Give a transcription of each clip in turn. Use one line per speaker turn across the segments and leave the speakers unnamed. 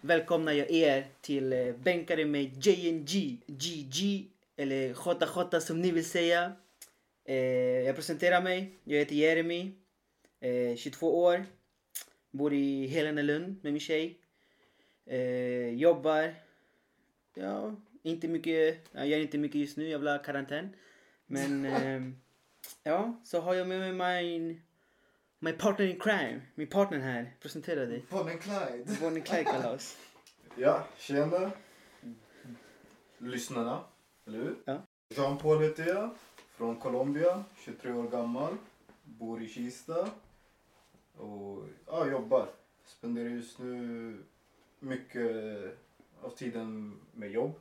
välkomnar jag er till eh, Bänkare med JNG, GG eller JJ som ni vill säga. Eh, jag presenterar mig. Jag heter Jeremy, eh, 22 år. Bor i Helenelund med min tjej. Eh, jobbar. Ja, inte mycket. Jag gör inte mycket just nu, jävla karantän. Men ehm, ja, så har jag med mig min, my partner in crime. Min partner här. Presentera dig.
Bonnie Clyde.
Bonnie Clyde kalas.
Ja, tjena. Lyssnarna, eller hur?
Ja.
Jean Paul heter jag, från Colombia, 23 år gammal, bor i Kista och ja, jobbar. Spenderar just nu mycket av tiden med jobb.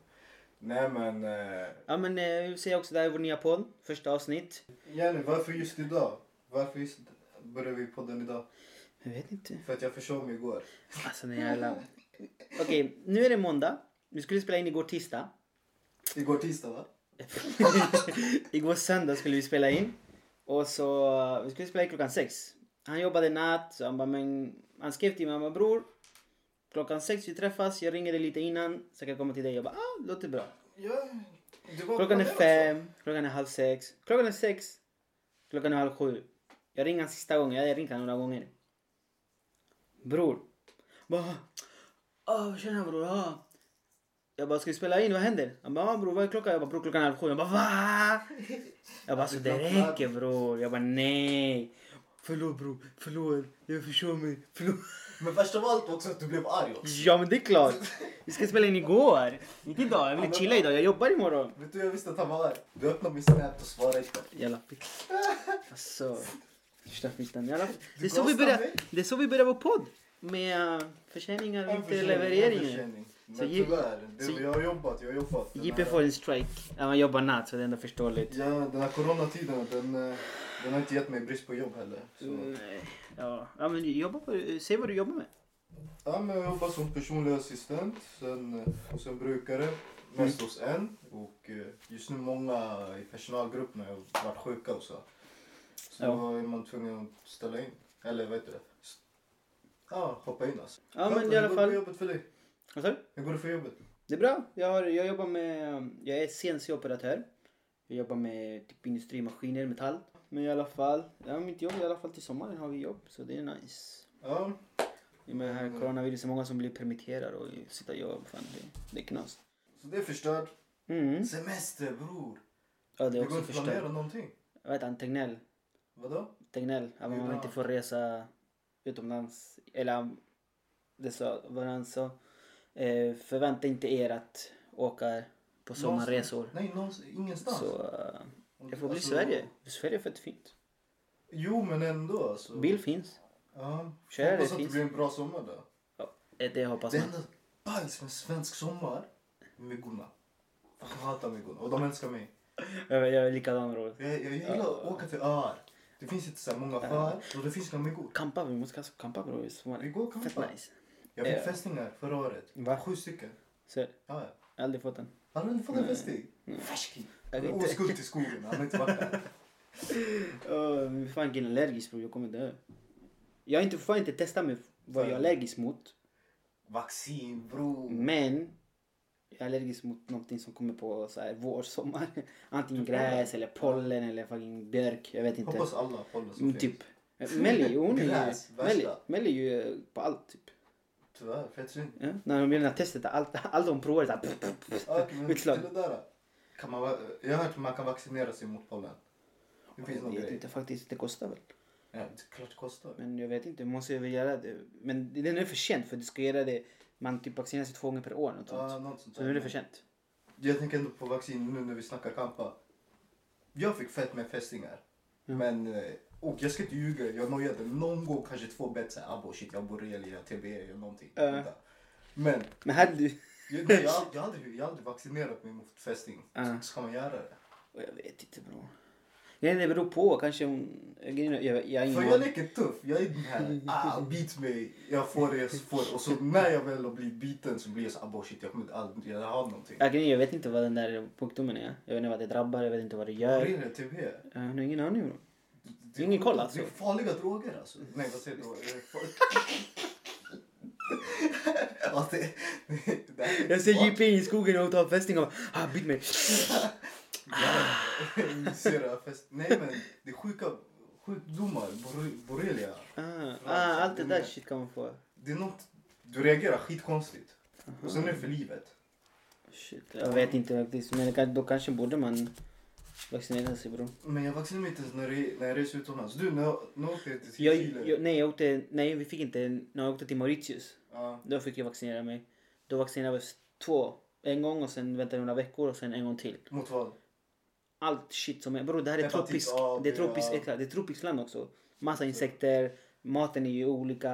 Nej men, eh,
Ja men eh, vi vill säga också det här är vår nya podd. Första avsnitt.
Jenny varför just idag? Varför just börjar vi podden idag?
Jag vet inte.
För att jag försov mig igår.
Alltså den jävla... Okej, nu är det måndag. Vi skulle spela in igår tisdag.
Igår tisdag va?
Igår söndag skulle vi spela in. Och så, eh, vi skulle spela in klockan sex. Han jobbade natt, så han bara, men han skrev till mig, han bara, bror. Klockan sex vi träffas, jag ringer dig lite innan så jag kan komma till dig. Jag bara, ah, låter bra.
Ja, det var
Klockan är
planerat så.
fem, klockan är halv sex, klockan är sex, klockan är halv sju. Jag ringer han sista gången, jag har ringt han några gånger. Bror. Bara, åh tjena bror, ah. Jag bara, ska vi spela in? Vad händer? Han bara, ah, bror vad är klockan? Jag bara, bror klockan är halv sju. Jag bara, va? Jag bara, så det räcker bror. Jag bara, nej. Förlåt bror, förlåt. Jag förstår mig, förlåt.
Men värst av allt var också att du blev arg också.
Ja men det är klart. Vi ska spela in igår. Inte idag, jag vill chilla idag. Jag jobbar imorgon.
Vet du, jag visste att han var här. Du öppnade min snap och svarade inte.
Jävla pick. Alltså. Första fittan. Jävla... Det, är
Du
så vi
gasar
börjar,
mig.
det är så vi börjar vår podd. Med eh, förseningar och inte levereringar.
Men
Så J-
tyvärr, det,
så-
jag har jobbat, jag har jobbat. Den
JP
här-
får en strike. Ja, man jobbar natt så det är ändå förståeligt.
Ja, den här coronatiden, den, eh, den har inte gett mig brist på jobb heller. Så.
Nej, Ja, ja men jobba på, eh, säg vad du jobbar med.
Ja, men jag jobbar som personlig assistent, sen, eh, och sen brukare. Mest
Mm.
hos en. Och eh, just nu många i personalgruppen har varit sjuka och så. Så
Ja.
då är man tvungen att ställa in. Eller vad heter det? S- Ja, hoppa in alltså.
Ja, men i
hur
alla
går det
fall-
för jobbet för dig?
Vad sa du?
Hur går det för jobbet?
Det är bra. Jag, har, jag jobbar med... um, Jag är CNC-operatör. Jag jobbar med typ industrimaskiner, metall. Men i alla fall, ja, mitt jobb i alla fall till sommaren har vi jobb så det är nice.
Ja,
I och med det här coronaviruset, många som blir permitterade och sitter jobb. Fan, det, det är knas.
så det är förstört.
Mm.
Semester bror!
Ja, det
Det
är
går
också
inte att planera
förstört.
någonting.
Vad heter han? Tegnell?
Vadå?
Tegnell. Att
Det är
man
bra.
inte får resa utomlands. Eller han- det sa vad han sa. Eh, förvänta inte er att åka på sommarresor.
Nej, någonstans. ingenstans.
Så eh,
Om
det
du-
får bli
alltså-
Sverige. Sverige är fett fint.
Jo, men ändå alltså.
Bil finns.
Ja.
Kör, det
Hoppas att det
finns.
blir en bra sommar då.
Eh, Det hoppas
Det
man.
enda bajs med svensk sommar, myggorna. Fan, Jag hatar myggorna och de älskar mig.
Jag jag är likadan Robert.
Jag, jag gillar att åka till öar. Det finns inte så här många öar och det finns inga myggor.
Kampa, vi måste kanske kampa bror i
Vi
sommar.
går och
Fett
campar.
nice.
Jag fick
Eh.
fästingar förra året.
Va?
Sju stycken.
Så, jag
Ja, ja.
har aldrig fått den.
Har du inte fått en
Mm.
fästing? Färsking.
Jag
Han är
vet inte.
Oskuld till skogen. Han har inte varit där.
Uh, fan jag är allergisk bror, jag kommer dö. Jag har inte, får inte testa mig vad jag är allergisk mot.
Vaccin bror.
Men jag är allergisk mot någonting som kommer på så här, vår, sommar. Antingen gräs eller pollen eller fucking björk. Jag vet inte.
Hoppas alla håller sig
Mm, typ. Melly, hon är ju...
Gräs, värsta.
Melly, Melly är ju eh, på allt typ.
Tyvärr, fett synd.
Ja? När de gör det här testet, allt, allt de provar är så här, pff, pff, pff,
Ja, men
Utslag.
till det där. Kan man, va- jag har hört att man kan vaccinera sig mot pollen. Det finns
Jag
någon
vet
grej.
inte faktiskt, det kostar väl.
Ja, det är klart det kostar.
Men jag vet inte, man måste väl göra det. Men den är för sent för du ska göra det. Man typ vaccinerar sig två gånger per år. Något
Ja,
sånt.
något sånt
Så
där.
nu är det för sent.
Jag tänker ändå på vaccin nu när vi snackar kampa. Jag fick fett med fästingar. Men, eh, och jag ska inte ljuga, jag nojade någon gång kanske två bett såhär abo shit jag har borrelia, TBE, jag någonting.
Ja.
Men
Men hade du...
jag, nej, jag, har aldrig- jag, har aldrig, jag har aldrig vaccinerat mig mot fästing.
Ja.
Ska man göra det?
Och Jag vet inte bror. Grejen är, det beror på. Kanske hon... grejen är- Jag, jag, har ingen
För jag
aning.
leker tuff. Jag är den här, ah, bit mig, jag får det, jag får Och så när jag väl har blivit biten så blir jag så ah, boy, shit jag kommer inte aldrig ha någonting.
Ja, grejen är, jag vet inte vad den där sjukdomen är. Jag vet inte vad det drabbar, jag vet inte vad det gör.
Borrelia, TBE.
Jag har ingen aning bror. Det är ingen koll, alltså.
Det är farliga droger alltså. Nej vad säger du?
Ja,
Alltså,
det, det, det,
Jag ser JP in i skogen och tar fästing och bara, ah, bit mig.
Ser jag fest. Nej men det är sjuka sjukdomar, borre- borrelia.
Ah, ah, allt det där shit kan man få.
Det är något, du reagerar skitkonstigt. Och sen är det för livet.
Shit, jag vet inte faktiskt. Men det kan- då kanske borde man vaccinera sig bror.
Men jag vaccinerade mig inte ens när, jag- när jag reser utomlands. Du, när jag, när jag åkte till
Jag,
Chile.
jag, nej, jag åkte, nej, vi fick inte, när jag åkte till Mauritius.
Ja,
Då fick jag vaccinera mig. Då vaccinerades två. En gång och sen väntade vi några veckor och sen en gång till.
mot vad?
Allt shit som är, bror det här är
Hepatit
tropiskt.
A,
Det är
B,
tropiskt,
ja.
exakt, det är tropiskt land också. Massa insekter, maten är ju olika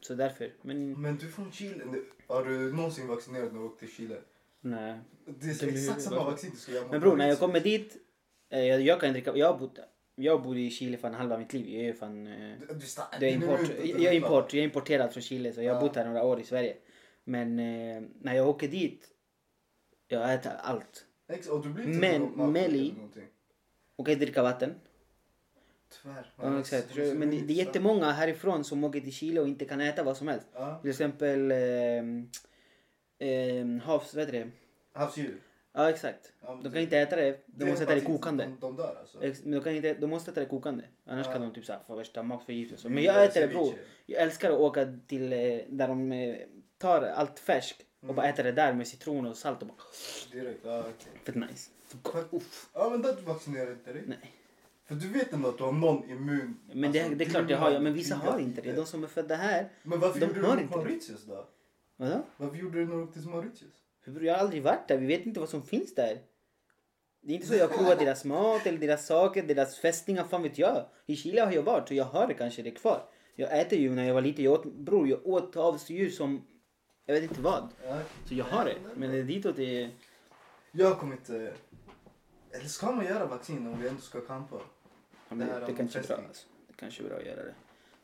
så därför. Men
Men du är från Chile. Nu- Har du någonsin vaccinerat när du åkte till Chile?
nej.
Det är
Det blir-
exakt samma vaccin du ska göra mot
Men bror, när jag
Mauritius.
kommer dit, eh, jag, jag kan dricka, jag har bott, jag bodde i Chile fan halva mitt liv. Jag är ju fan, eh,
Du- Du stannar.
det är import, jag, är import, jag är importerad från Chile så jag har
Ja.
bott här några år i Sverige. Men eh, när jag åker dit, jag äter allt.
Och du blir inte
Men-
någon-
Melli-
eller någonting.
Och kan inte dricka vatten.
Tyvärr.
Ja, exakt.
alltså,
Men det, det är jättemånga härifrån som åker till Chile och inte kan äta vad som helst.
Ja.
Till exempel ehm, ehm, havs... Vad heter det?
Havsdjur.
Ja, exakt.
Ja, men
De
det-
kan inte äta det.
Det
De
är
måste äta det
faktiskt-
kokande.
De, de där alltså.
Ex- Men de, kan inte, de måste äta det kokande. Annars
Ja.
kan de typ så här få värsta matförgiftning.
Mm,
Men jag äter det
ceviche.
bror. Jag älskar att åka till eh, där de eh, tar allt färskt och bara äta det där med citron och salt och bara...
Direkt. Ja, okej.
Fett nice. Så gott. Uff.
Ja, men där du vaccinerar inte dig.
Nej.
För du vet ändå att du har någon immun...
Men det,
alltså,
det är klart det
du
har jag. Men vissa
krigar
har inte det. De som är födda här.
Men varför
de
gjorde
har
du det
inte
på
det.
Mauritius då?
Vadå?
Varför gjorde du det när du åkte till Mauritius?
Bror, Jag har aldrig varit där, vi vet inte vad som finns där. Det är inte så jag har provat deras mat eller deras saker, deras fästingar, fan vet jag. I Chile har jag varit så jag har det kanske det kvar. Jag äter ju när jag var liten, jag åt, bror jag åt havsdjur som, jag vet inte vad.
Ja.
Så jag har det, men det är ditåt det är...
Jag kommer inte... Eller ska man göra vaccin om vi ändå ska campa?
Ja, men
Det här
Det, det
om
kanske är bra
fästing.
alltså. Det kanske är bra att göra det.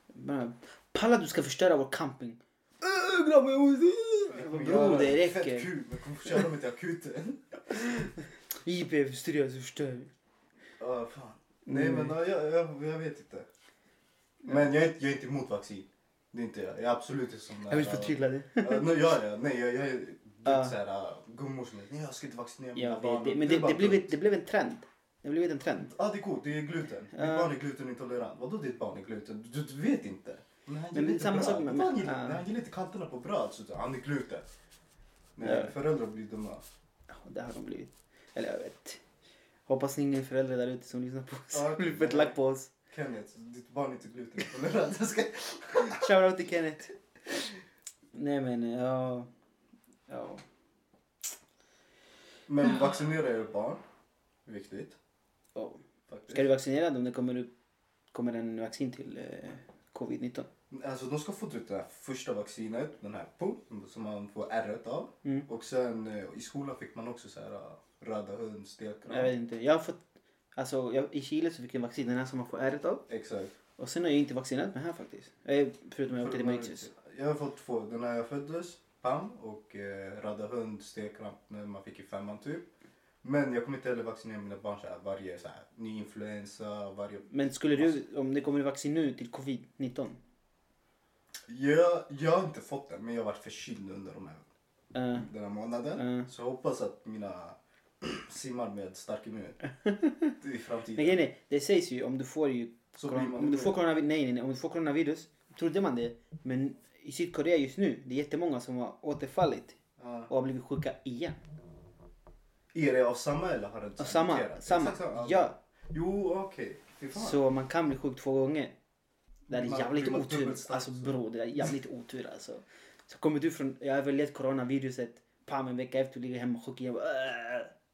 Men, palla du ska förstöra vår camping. Öh, grabbar jag måste...
Äh, Jag kommer
Bror
göra
det
Fett
räcker.
kul, men jag kommer få köra mig till akuten.
IP förstör, förstör.
Ja, fan. Nej,
Mm.
men ja, jag, jag, jag vet inte. Men jag är, inte- jag är inte emot vaccin. Det är inte jag. Jag är absolut inte sån där...
Jag vill förtydliga det.
Ja, nu gör jag. Nej, jag, jag är
Ja.
uh. såhär äh, gummor som är nej jag ska inte vaccinera mina
Jag
barn.
vet, det, men
är
det,
bara
det, blev,
dumt.
ett- det blev en trend. Det blev en trend.
Ja, det är gott. Det är gluten. Ditt
Ja.
barn är glutenintolerant. Vadå ditt barn är gluten? Du, du vet inte. Men han
Men
gillar
det är
inte
samma
bröd.
sak med-
Vadå, Han
ja.
gillar, han gillar inte kanterna på bröd. Så han är gluten. Nej,
Ja.
föräldrar blir dumma.
Ja, det har de blivit. Eller jag vet. Hoppas ni ingen föräldrar där ute som lyssnar på oss.
Ja.
blir fett lack på oss.
Kenneth, ditt barn är inte glutenintolerant. Jag ska...
Shoutout till Kenneth. Nej men ja. Ja.
Men vaccinera er barn. Viktigt.
ja.
Faktiskt.
Ska du vaccinera dem? Det kommer, upp, kommer en vaccin till eh, covid-19.
Alltså de ska få ut det här första vaccinet, den här pump som man får ärret av.
Mm.
Och sen eh, i skolan fick man också så här eh, röda hund,
Jag vet
stekram.
inte. Jag har fått. Alltså jag, i Chile så fick jag vaccin. Den här som man får ärret av.
Exakt.
Och sen har jag inte vaccinerat mig här faktiskt. Eh, förutom jag åkte till Mauritius.
Jag har fått två. Den när jag föddes, PAM och eh, röda hund, stekramp när man fick i femman typ. Men jag kommer inte heller vaccinera mina barn så här, varje så här, ny influensa, varje...
Men skulle du, om det kommer vaccin nu till covid-19.
Jag, jag har inte fått det men jag har varit förkyld under de här,
Eh,
den här månaden.
Mm.
Så jag hoppas att mina simmar med stark immun i framtiden.
Men grejen är, det sägs ju om du får ju...
Så
corona-
blir man
om du får
sjuk.
coronavirus, nej, nej, nej, om du får coronavirus, trodde man det. Men i Sydkorea just nu, det är jättemånga som har återfallit
Ja.
och har blivit sjuka igen.
Är det av samma eller har det inte
Och samma,
muterat?
samma.
Exakt samma.
Ja.
Jo, okej. Fy fan.
Så man kan bli sjuk två gånger. Det där är
Man-
jävligt
blir man
otur.
dubbelt stark
Alltså
så?
bro, det där är jävligt otur alltså. Så kommer du från, jag har överlevt coronaviruset, pam en vecka efter du ligger hemma sjuk igen. Jag bara,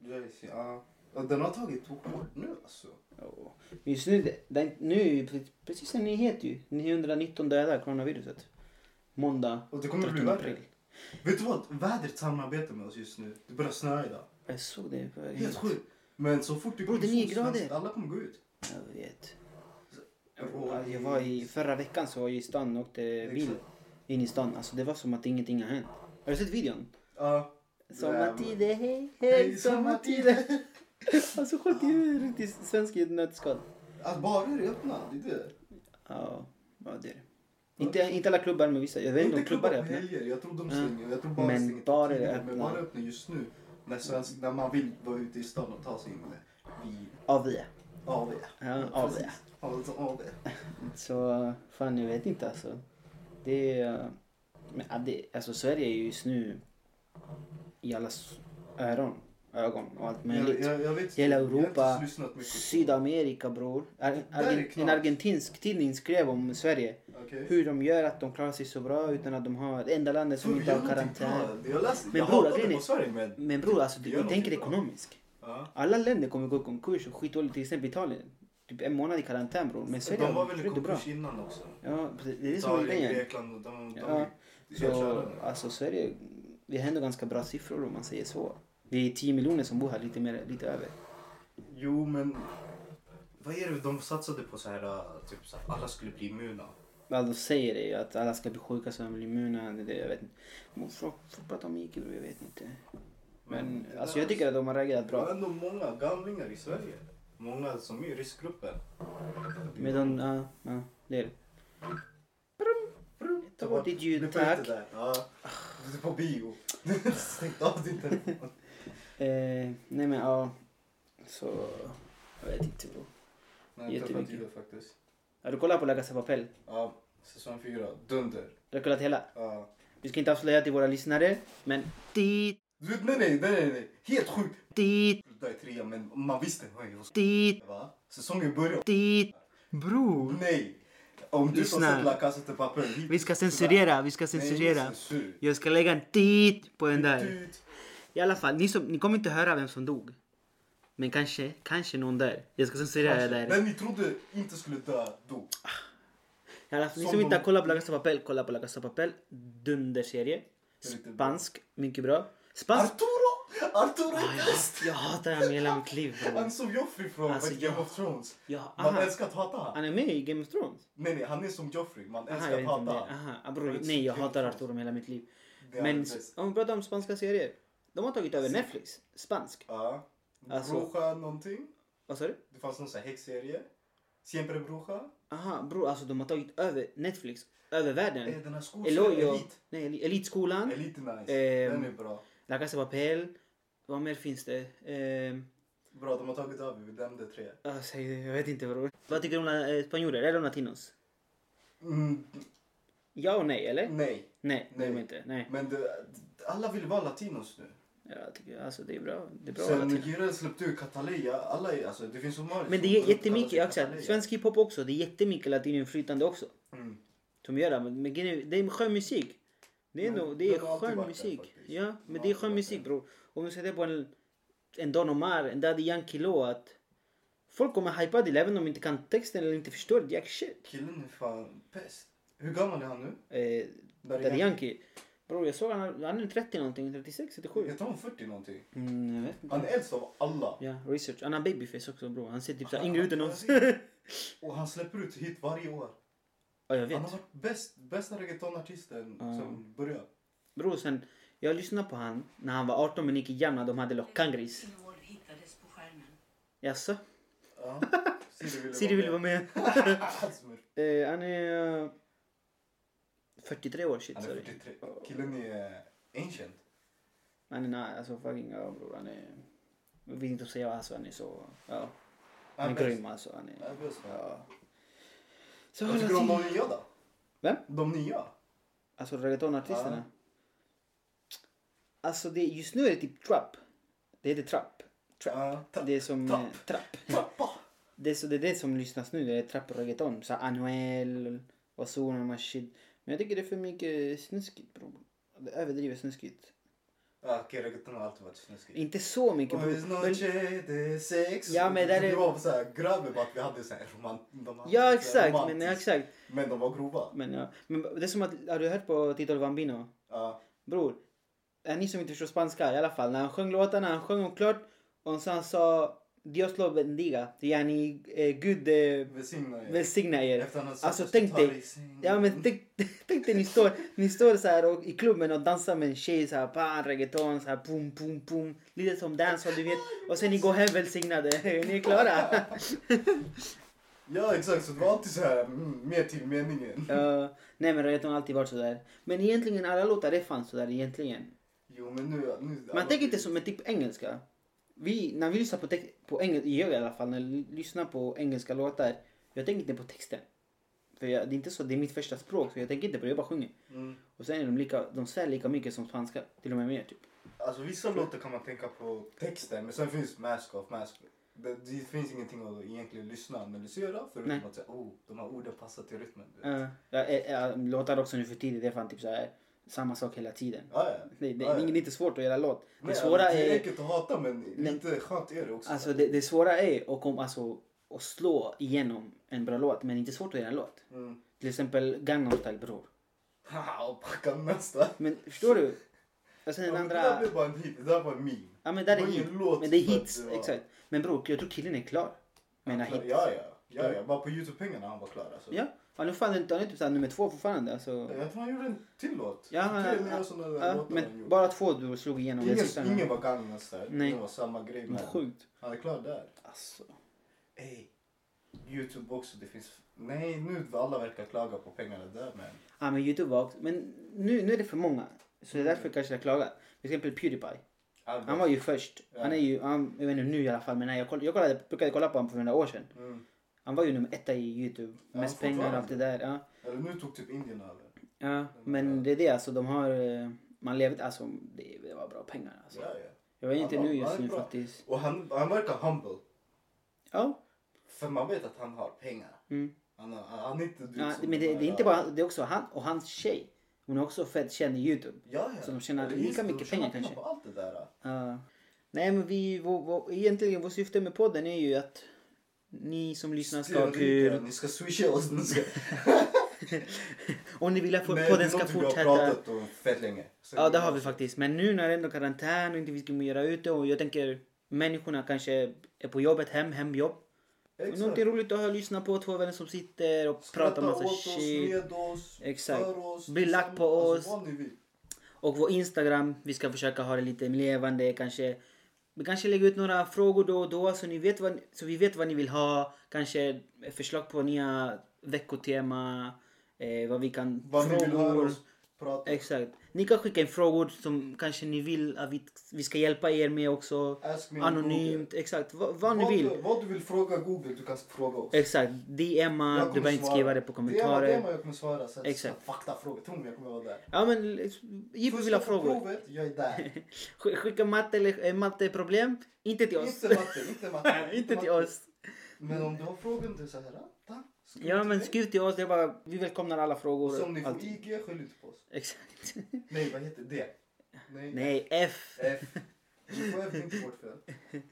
"Åh."
Jace, Ja. Ja, Den har tagit två år nu alltså.
Ja. Men just nu, det- det, nu är ju pre- precis en nyhet ju. 919 döda av coronaviruset. Måndag
Och det kommer bli
13
värre.
april.
Vet du vad? Vädret samarbetar med oss just nu. Det börjar snöa idag.
Jag såg det. på-
Helt sjukt. Men så fort det
Bro, det är nio
solsken,
grader.
alla kommer gå ut.
Jag vet.
Bro,
Jag var i, förra veckan så var jag i stan och åkte bil
Exakt.
in i stan. Alltså det var som att ingenting har hänt. Har du sett videon?
Ja.
Sommartider, hej, hej,
Hej,
sommartider.
sommartider!
Alltså sjukt, det är ju riktigt svensk i ett nötskal.
Att barer är öppna, det är det.
Ja, ja det är det. Inte, inte alla klubbar, men vissa. Jag vet inte om
inte klubbar
klubbar
på
är öppna.
helger. Jag tror de
Ja.
stänger. Jag tror bara
Men
stänger till
bar är
tio,
det
Men
öppna.
bara öppna just nu. När, svensk, när man vill vara ute i stan och ta sig in med bil.
Aviga.
AW.
Ja, aviga.
Alltså AW.
Så fan, jag vet inte alltså. Det är... Men, ja, det, alltså Sverige är ju just nu i allas öron, ögon och allt möjligt.
Jag, jag, jag vet,
Hela
jag har inte
Europa,
lyssnat mycket på-
Sydamerika bror. Ar-
Där är
Argen-
klart.
en argentinsk tidning skrev om Sverige.
Okej.
Hur de gör att de klarar sig så bra utan att de har det enda landet som
Bror,
inte
jag
har karantän.
inte bra. Jag läste,
Men
jag
bror,
hatade
grejen är-
på Sverige men...
Men bror alltså,
Vi
du
gör
du tänker
någonting bra.
ekonomiskt.
Ja.
Alla länder kommer gå i konkurs och skitdåligt. Till exempel Italien. Typ en månad i karantän bror. Men Sverige
De var
har
väl i
gjort det bra.
konkurs innan också?
Ja, precis. det är det som är
Italien,
grejen.
Grekland och de... de
Ja.
de- de-
Så
de-
alltså Sverige, vi har ändå ganska bra siffror om man säger så. Vi är 10 miljoner som bor här, lite mer, lite över.
Jo men... Vad är det de satsade på så här, äh, typ så här, alla skulle bli immuna?
Ja, de alltså, säger det ju att alla ska bli sjuka så de blir immuna. Det, det, jag vet inte. Men Folk folk pratar om IQ, jag vet inte. Men
det
alltså
där-
jag tycker att de har reagerat
Det var
bra.
ändå många gamlingar i Sverige. Många som är i riskgruppen.
Medan, ja, ja, det är det.
Brum,
Ta bort ditt ljud,
Du får inte
tack.
det. Ja. Du är på bio. Stäng av din telefon.
Eh, nej men ja. Så, jag vet inte bror.
Nej, tuffa
Jättemycket.
tider faktiskt.
Har du kollat på La Casa Papel?
Ja, säsong fyra. Dunder.
Du har kollat hela?
Ja.
Vi ska inte avslöja till våra lyssnare, men dit,
Du vet, nej, nej, nej, nej, nej. Helt sjukt.
dit,
Det är trean, men man visste. Oj, vad ska-
dit,
Va? Säsongen börjar.
dit. Bror.
Nej! Om du som
Lyssna.
sett La Casa de Papel. hit-
Vi ska censurera, vi ska censurera.
Nej, censur.
Jag ska lägga en tit på den där.
Tut.
I alla fall, ni, som, ni kommer inte höra vem som dog. Men kanske, kanske någon där. Jag ska censurera det där.
Den ni trodde inte skulle dö, dog.
I alla fall, ni
Som
som inte har
de-
kollat på La Casa Papel, kolla på La Casa Papel. Dunderserie.
Väldigt bra.
Spansk, mycket bra. Spansk.
Arturo! Arturo är
Jag,
bäst!
hat- jag hatar den med hela mitt liv bror.
Han som Joffrey från
Alltså,
Game
jag-
of Thrones.
Ja,
Man
aha.
älskar att hata han.
Han är med i Game of Thrones?
Nej, nej, han är som Joffrey. Man
Aha,
älskar
jag
att
vet inte om det.
hata han.
Aha, ah, bror, nej jag hatar Arturo med hela mitt liv.
Det är
Men
han bäst.
om vi pratar om spanska serier. De har tagit över Netflix. Spansk.
Ja.
Alltså-
Bruja någonting.
Vad sa du?
Det fanns någon sån här häxserie. Siempre Bruja.
Aha, bror alltså de har tagit över Netflix. Över världen.
Eh, Den här skolan,
Eloyo.
Elite.
Nej, Eli- Elitskolan.
Elite nice.
Ehm.
Den är bra.
La Casa de Papel. Vad mer finns det? Ehm,
Bra, de har tagit över. Vi nämnde tre.
ah, säg det, jag vet inte bror. Vad tycker du om la- eh, spanjorer? Är de latinos?
Mm,
Ja och nej, eller?
nej,
Nej, det är de
Mm. Nej.
inte. Nej.
men det, alla vill vara latinos nu.
Ja, Jag tycker, alltså det är bra. Det är bra
Sen
latinos.
Nigeria släppte ut Cataleya. Alla är, alltså, det finns så många
Men det
som
är
går runt och kallar
jättemycket,
sig
jag säger,
Cataleya.
svensk hiphop också. Det är jättemycket latinoinflytande också.
Mm.
Som gör det. Men men grejen är- det är skön musik. Det är,
Men
nog, det är
den har alltid
skön
varit där
musik.
faktiskt.
Ja,
Den
men
har
det är
alltid
skön
varit
musik
där.
bror. Om du sätter på en, en Don Omar, en Daddy Yankee låt. Folk kommer hypa till även om de inte kan texten eller inte förstår jack shit.
Killen är fan pest. Hur gammal är han nu?
Eh,
Daddy
Daddy Yankee. Bror jag såg han, han är 30 någonting, 36, 37.
Jag tror han 40 någonting.
Mm, jag vet inte.
Han är äldst av alla.
Ja, research. Han har babyface också bror. Han ser typ såhär yngre ut än oss.
Och han släpper ut hit varje år.
Ja, jag vet.
Han har varit bäst, bästa reggaetonartisten
Ja.
som började.
Bror sen, jag lyssnade på han när han var 18 men gick i Jamna. De hade Lockangris.
Innehåll hittades på skärmen.
Jaså?
Ja.
Siri vill vara med.
Ah, med.
Eh, han är... eh, 43 år, shit
Han är
sorry.
43. Killen är eh, ancient.
Han är nej, alltså fucking ja bror. Han är... Jag vet inte vad säga, alltså han är så... Ja. Han är
bäst.
grym alltså. Han
Han
är...
är bäst.
Ja. Så
Vad tycker du om
latin...
de nya då?
Vem?
De nya?
Alltså reggaetonartisterna. Alltså det, just nu är det typ trap. Det heter trap. Trap.
Ja, tra-
Det är som...
trap.
eh, Trap.
Trappa!
Det är, så, det är det som lyssnas nu, det är trap och reggaeton. Så här Anuel, Ozuna och de här shit. Men jag tycker det är för mycket snuskigt bror. Det överdriver snuskigt.
Ja, Okej, reggaeton har alltid varit snuskigt.
Inte så mycket
Boys
bror. Men,
noche de sex.
Ja, men där är-
Det var såhär grabben bara att vi hade såhär romant... de hade så
ja
här
exakt, men,
romantiskt.
ja, exakt.
Men de var grova.
Men, ja. men det är som att, har du hört på Tito el Bambino?
Ja.
Bror, är ni som inte förstår spanska i alla fall. När han sjöng låtarna, han sjöng dem klart. Och sen sa Dios lo bendiga. Yani, eh, Gud eh,
Välsigna er.
välsigna er.
Efter han hade sagt
Alltså
oss,
tänk
ta
dig.
det i sängen.
Ja men tänk, tänk dig ni står, ni står så här och, i klubben och dansar med en tjej så här, pan, reggaeton, så här, pum, pum, pum. Lite som dancehall du vet. Och sen ni går hem välsignade. ni är klara.
Ja exakt, så det var alltid så här mm, mer till meningen.
Ja, nej men reggaeton har alltid varit sådär. Men egentligen alla låtar är fan sådär egentligen.
Jo men nu... alltså, nu
Man tänker inte som en typ engelska. Vi, när vi lyssnar på, tex- på engelska, jag i alla fall, när jag lyssnar på engelska låtar. Jag tänker inte på texten. För jag, det är inte så, det är mitt första språk så jag tänker inte på det, jag bara sjunger.
Mm.
Och sen är de lika, de svär lika mycket som spanska. Till och med mer typ.
Alltså vissa låtar kan man tänka på texten men sen finns mask off, mask det, det finns ingenting att egentligen lyssna och analysera förutom
Nej.
att säga oh, de här orden passar till rytmen. Du. vet.
Uh, låtar också nu för tiden, det är fan typ så här samma sak hela tiden.
Ja, ja.
Det, det,
Ja, ja.
det är inte svårt att göra låt. Det
Nej,
svåra
alltså, det är
är,
enkelt att hata men lite skönt är det också.
alltså, det, det svåra är och om, alltså, att slå igenom en bra låt, men inte svårt att göra en låt.
Mm.
Till exempel Gangnam style bror.
Haha, och packa nästa.
Men förstår du? Och sen
Ja,
den
men Det där
andra...
blev bara en hit, det där var en meme.
Ja men där
det
är
var ingen
hit.
låt
Men det är
för att
hits,
det var-
exakt. Men bror, jag tror killen är klar. Med den här hit.
Ja, ja. ja, ja. Bara på Youtube-pengarna han var klar alltså.
Ja. Han är fan han är typ såhär nummer två fortfarande. Alltså.
Jag tror han gjorde en till låt.
Ja, han,
Tre nya
han,
sådana där
ja,
låtar han
men
gjorde.
bara två du slog igenom. Den sista
Ingen,
nu.
ingen var Gangnam style.
Nej.
Det var samma grej.
Men
Men
Sjukt.
han är klar där.
Alltså.
Ey. Youtube också. Det finns... Nej, nu alla verkar klaga på pengarna där men.
Ja men Youtube var också... Men nu, nu är det för många. Så det är därför kanske jag klagar. Till exempel Pewdiepie.
Albert.
Han var ju först.
Mm. Ja.
Han är ju, han, jag vet inte nu i alla fall men när jag, koll, jag kollade, brukade kolla på honom för några år sedan.
Mm.
Han var ju nummer etta i Youtube.
Ja,
Mest pengar och allt det där. Ja.
Eller nu tog typ Indien över. Mm.
Ja, men det är det alltså. De har... eh, Man levde... Alltså det, det var bra pengar alltså.
Ja, ja.
Jag vet inte
Ja,
nu
ja,
just
det är
nu
bra.
faktiskt.
Och han, han verkar humble.
Ja.
För man vet att han har pengar.
Mm.
Han, har- han är inte du
ja
som
men det, det
bara-
är inte bara... Det är också han och hans tjej. Hon är också fett känd i Youtube.
Ja, ja.
Så de tjänar
Eller
lika
just det,
mycket
de tjänar
pengar kanske.
på allt det där.
Ja. nej men vi... Vår, vår, egentligen vårt syfte med podden är ju att ni som lyssnar ska ha kul.
Ni ska swisha oss. Ni ska...
Om ni vill att
Nej,
podden ska
Det är någonting vi har
fortsätta.
pratat om fett länge. Så
Ja det har vi faktiskt. Men nu när det är ändå karantän och inte vi ska göra ute och jag tänker människorna kanske är på jobbet, hem, hemjobb.
Exakt.
Någonting roligt att höra och lyssna på, två vänner som sitter och
Skratta
pratar massa
åt oss,
shit.
med oss,
Exakt.
för oss.
Bli lack på
tillsammans.
oss.
Alltså, vad ni vill.
Och vår Instagram, vi ska försöka ha det lite levande kanske. Vi kanske lägger ut några frågor då och då så, ni vet vad, så vi vet vad ni vill ha. Kanske förslag på nya veckotema. Eh, vad vi kan...
Vad ni vill höra oss prata om.
Exakt. Ni kan skicka in frågor som kanske ni vill att vi, vi ska hjälpa er med också.
Ask me on
Anonymt, exakt. Vad, vad ni
Google.
vill.
Vad du, vad du vill fråga Google, du kan fråga oss.
Exakt. DMa, du
Jag kommer
behöver inte
svara.
skriva det på kommentarer.
Det är vad jag kommer svara.
Exakt.
Sen Exakt. Faktafrågor, tro mig jag kommer vara där.
Ja men eh, ge på vilka
Första
frågor.
provet, jag är där.
Sk- Skicka matte eller eh, matteproblem. Inte till oss.
inte matte, inte matte.
Inte till
matte.
oss.
Men om du har frågor om det så här, tack. Skriv
Ja
till
men
mig.
skriv till oss. Det är bara, vi välkomnar alla frågor.
Så om ni får
Allt.
IG, skyll inte på oss.
Exakt.
Nej, vad heter det? Nej.
Nej, F.
F. Du får F, det är inte vårt fel.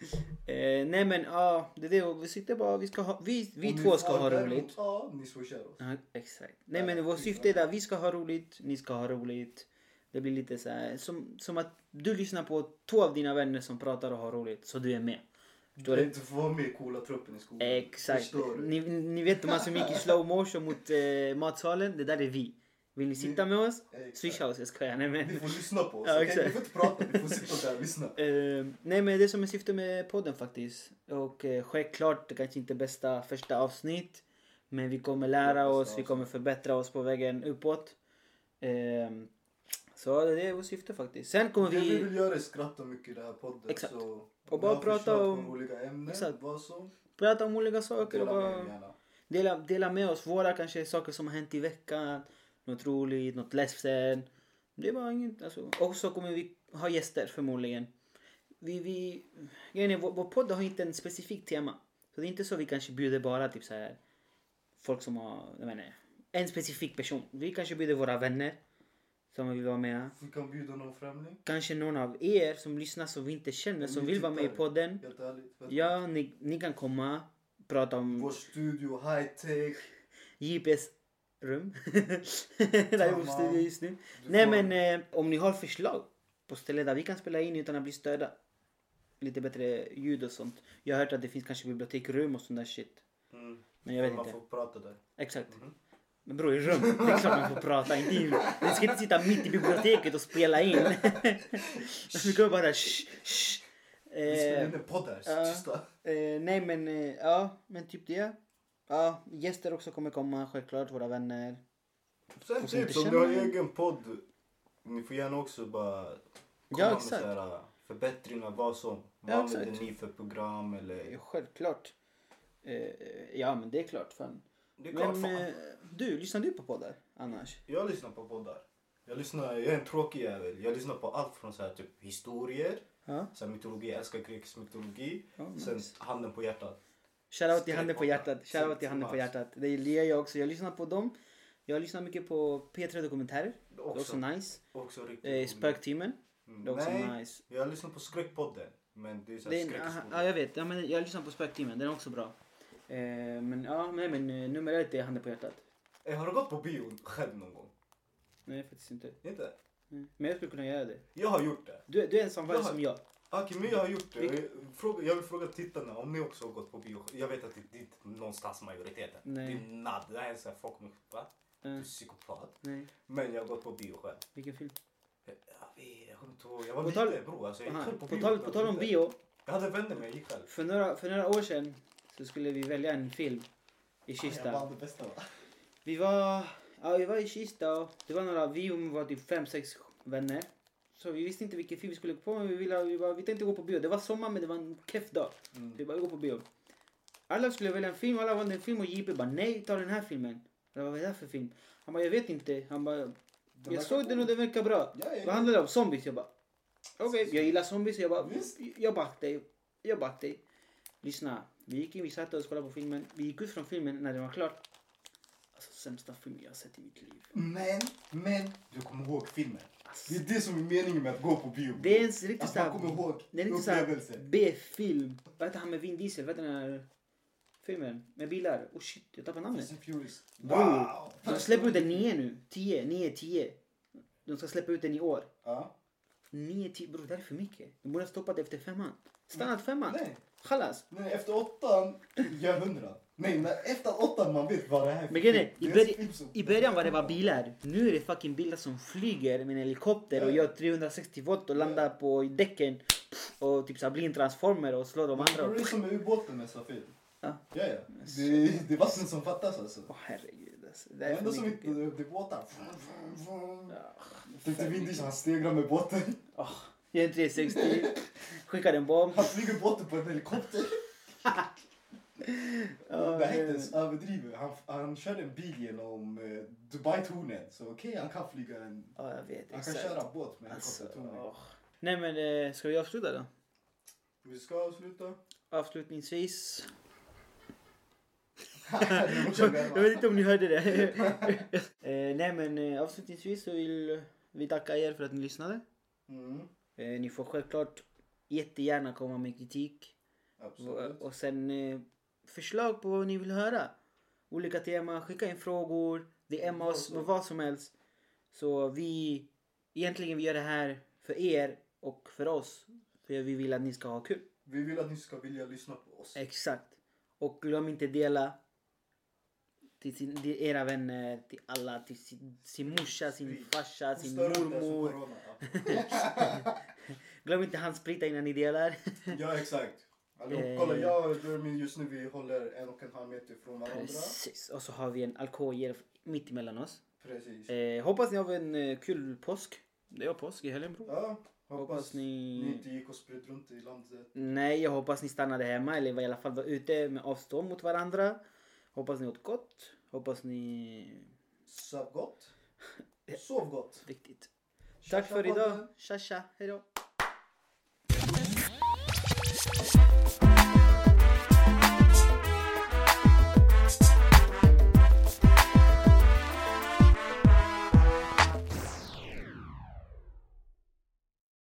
Eh, nej men ja, det är det. Och Vi sitter bara, vi ska ha, vi, vi
Om ni
två ska
får
ha
däremot
roligt.
A, ni swishar oss.
Ja, exakt. Nej
Ja,
men vårt
vi-
syfte är att vi ska ha roligt, ni ska ha roligt. Det blir lite så här, som, som att du lyssnar på två av dina vänner som pratar och har roligt, så du är med. Förstår du?
Du får vara med i coola truppen i skolan.
Exakt.
Förstår du?
Ni, ni vet de här som gick i slow motion mot eh, matsalen? Det där är vi. Vill ni sitta med oss?
Exakt.
Swisha oss, jag skojar. Nej men.
Ni får lyssna på oss.
Ja,
okej?
exakt.
Ni får inte prata, ni får sitta där och lyssna.
Eh, nej men det är som är syfte med podden faktiskt. Och eh, självklart, det kanske inte är bästa första avsnitt. Men vi kommer lära
Bästa
oss, vi
avsnitt.
kommer förbättra oss på vägen uppåt. Ehm, så det är vårt syfte faktiskt. Sen kommer
Det vi
vi...
vill göra är skratta mycket i den här podden.
Exakt.
Så
Och bara
ni har
prata
förslag på
om-
roliga ämnen.
Exakt.
Vad som.
Prata om olika saker och
Dela med er
bara
gärna.
dela, dela med oss. Våra kanske saker som har hänt i veckan. Något roligt, något ledsen. Det är bara inget. Alltså. Och så kommer vi ha gäster förmodligen. Vi, vi, grejen är, vår, vår podd har inte en specifik tema. Så det är inte så vi kanske bjuder bara typ så här folk som har, jag menar, en specifik person. Vi kanske bjuder våra vänner som vill vara med.
Vi kan bjuda någon främling.
Kanske någon av er som lyssnar som vi inte känner
Om
som
ni
vill vara med i
tittar,
podden.
Helt ärligt. vet du.
Ja, ni, ni kan komma, prata om...
Vår studio, high tech.
JPs rum. där är vår
Tamam.
studio just nu.
Du
Nej
får-
men eh, om ni har förslag på ställen där vi kan spela in utan att bli störda. Lite bättre ljud och sånt. Jag har hört att det finns kanske bibliotekrum och sånt där shit.
Mm.
Men jag vet
Man
inte.
får Mhm. prata där.
Exakt. Men bror i rum, det är klart man får prata. Inte in. Ni ska inte sitta mitt i biblioteket och spela in. Vi kommer bara shh, shh.
Vi spelar
Eh,
in en podd här.
ja.
så Tysta.
eh, nej men eh, ja, men eh, typ det. Ja, gäster också kommer komma självklart, våra vänner.
Sen
Fast inte
typ som
känner
du har
jag.
egen podd. Ni får gärna också bara komma
Ja,
med
exakt.
så här, äh, förbättringar, vad som. Vad
Ja,
använder
exakt.
ni för program
Eh,
eller?
Självklart. Eh, Ja, men det är klart. Fan.
Det är klart
Men
fan.
eh, du, lyssnar du på poddar annars?
Jag lyssnar på poddar. Jag, lyssnar, jag är en tråkig jävel. Jag lyssnar på allt från så här, typ historier,
Ja.
så här, mytologi, jag älskar krigsmytologi.
Ja, nice.
Sen handen på hjärtat.
Shoutout till handen på
Skräckpoddar.
hjärtat. Shoutout till
Sen-
handen på
sen Mats.
hjärtat. Det gör jag också. Jag lyssnar på dem. Jag lyssnar mycket på P3 Dokumentärer. Det är
Också.
också nice.
Också riktigt
Eh,
roligt.
Spöktimmen.
Mm,
Det är också
Nej,
nice.
jag lyssnar på skräckpodden. Men det är så
Det
här
är, aha,
skräckhistorier.
ja, jag vet. Ja, men jag lyssnar på Spöktimmen. Den är också bra. Eh, men ja, nej, men eh, nummer ett är handen på hjärtat.
Eh, Har du gått på bio själv någon gång?
Nej, faktiskt inte.
Inte?
Mm. Men jag skulle kunna göra det.
Jag har gjort det.
Du, du är ensam
Jag
värre
har-
som jag.
Okej, men jag har gjort det.
Vilk-
Jag Fråga, jag vill fråga tittarna om ni också har gått på bio. Jag vet att det det är inte någonstans majoriteten.
Nej.
Det är nadd. Det här är såhär, folk kommer va? Du är
Eh,
psykopat.
nej,
Men jag har gått på bio själv.
vilken film?
Jag vet, jag kommer inte ihåg. Jag var
På tal-
liten bror. Alltså, jag gick
Aha,
själv
på,
bio
tal,
när
på
jag
tal
var
om
liten.
bio.
Jag hade vänner men jag gick själv.
För några, för några år sedan så skulle vi välja en film i
Jag
Kista.
vann det bästa va?
Vi var, ja, vi var i Kista och det var några, vi var typ fem, sex vänner. Så vi visste inte vilken film vi skulle gå på men vi, ville, vi, bara, vi tänkte gå på bio. Det var sommar men det var en keff dag.
Mm.
Så vi bara, vi går på bio. Alla skulle välja en film, alla valde en film och JP bara nej, ta den här filmen. Jag bara, vad är det här för film? Han bara, jag vet inte. Han bara, jag såg den och den verkar bra.
Ja, ja,
Vad
ja.
handlar det om? Zombies? Jag bara, okej, jag gillar zombies. Jag bara,
Visst.
jag back dig. Jag back dig. Lyssna, vi gick in, vi satte oss och kollade på filmen. Vi gick ut från filmen när den var klar. Alltså sämsta filmen jag har sett i mitt liv.
Men, men, du kommer ihåg filmen.
Alltså,
Det är det som är meningen med att gå på bio.
det är en riktigt
Att man
såhär,
kommer ihåg
det är en riktigt såhär
upplevelsen.
B-film. Vad heter han med Vin Diesel? Vad heter den här filmen? Med bilar? Oh shit, jag tappade namnet.
Fast and Furious.
Bror,
Wow!
de släpper ut den 9 nu. 10, 9, 10. De ska släppa ut den i år.
Ja.
9, 10, bror det här är för mycket. De borde ha stoppat efter femman. Stannat femman.
Nej,
Chalas.
nej, efter åttan gör hundra. Nej, men efter åttan man vet vad det här är för
Men grejen är,
film.
i,
Det
börj-
en film som-
i början var det bara bilar. Nu är det fucking bilar som flyger med en helikopter och
Ja.
gör 360 volt och landar på däcken. Och typ såhär blir en transformer och slår de
Men Det
andra.
är det som med ubåten med Safir.
Ja.
Ja, ja. Det, det är vatten som fattas alltså.
Åh herregud alltså. Det
Det
här är
enda
för
som inte,
mycket.
det är båtar.
Ja.
Tänkte Vin Diesel, han stegrar med båten.
Åh, Gör en 360. Skickar en bomb.
Han flyger båten på en helikopter.
Ja,
det här är
det-
inte ens överdrivet. Han, han körde en bil genom eh, Dubai-tornet. Så okej, han kan flyga en...
Ja jag vet.
Han kan
exakt.
köra båt med
Alltså,
helikoptertornet.
åh. Nej men eh, ska vi avsluta då?
Vi ska avsluta.
Avslutningsvis. Jag vet
Alltså.
inte om ni hörde det. eh, nej men eh, avslutningsvis så vill vi tacka er för att ni lyssnade.
mm,
Eh, ni får självklart jättegärna komma med kritik.
absolut.
Och, och sen eh, förslag på vad ni vill höra. Olika teman, skicka in frågor, DM oss på vad som helst. Så vi, egentligen vi gör det här för er och för oss. För vi vill att ni ska ha kul.
Vi vill att ni ska vilja lyssna på oss.
Exakt. Och glöm inte dela till, sin, till era vänner, till alla, till sin, sin morsa, sin farsa, sin
Hostar runt där som
mormor.
corona.
Glöm inte handsprita innan ni delar.
Ja, exakt.
Eh.
Allihop, kolla jag och Jeremy just nu vi håller en och en halv meter från varandra.
Precis. Och så har vi en alkohol mitt emellan oss.
Precis.
Eh, hoppas ni har en eh, kul påsk. Det var påsk i helgen bror.
Ja, hoppas,
Hoppas
ni...
ni...
inte gick och spred runt i landet.
Nej, jag hoppas ni stannade hemma eller i alla fall var ute med avstånd mot varandra. Hoppas ni åt gott. Hoppas ni...
Sov gott. Sov gott.
Viktigt.
Tja,
Tack
tja,
Eh. för
podden.
idag. Tja tja, hejdå.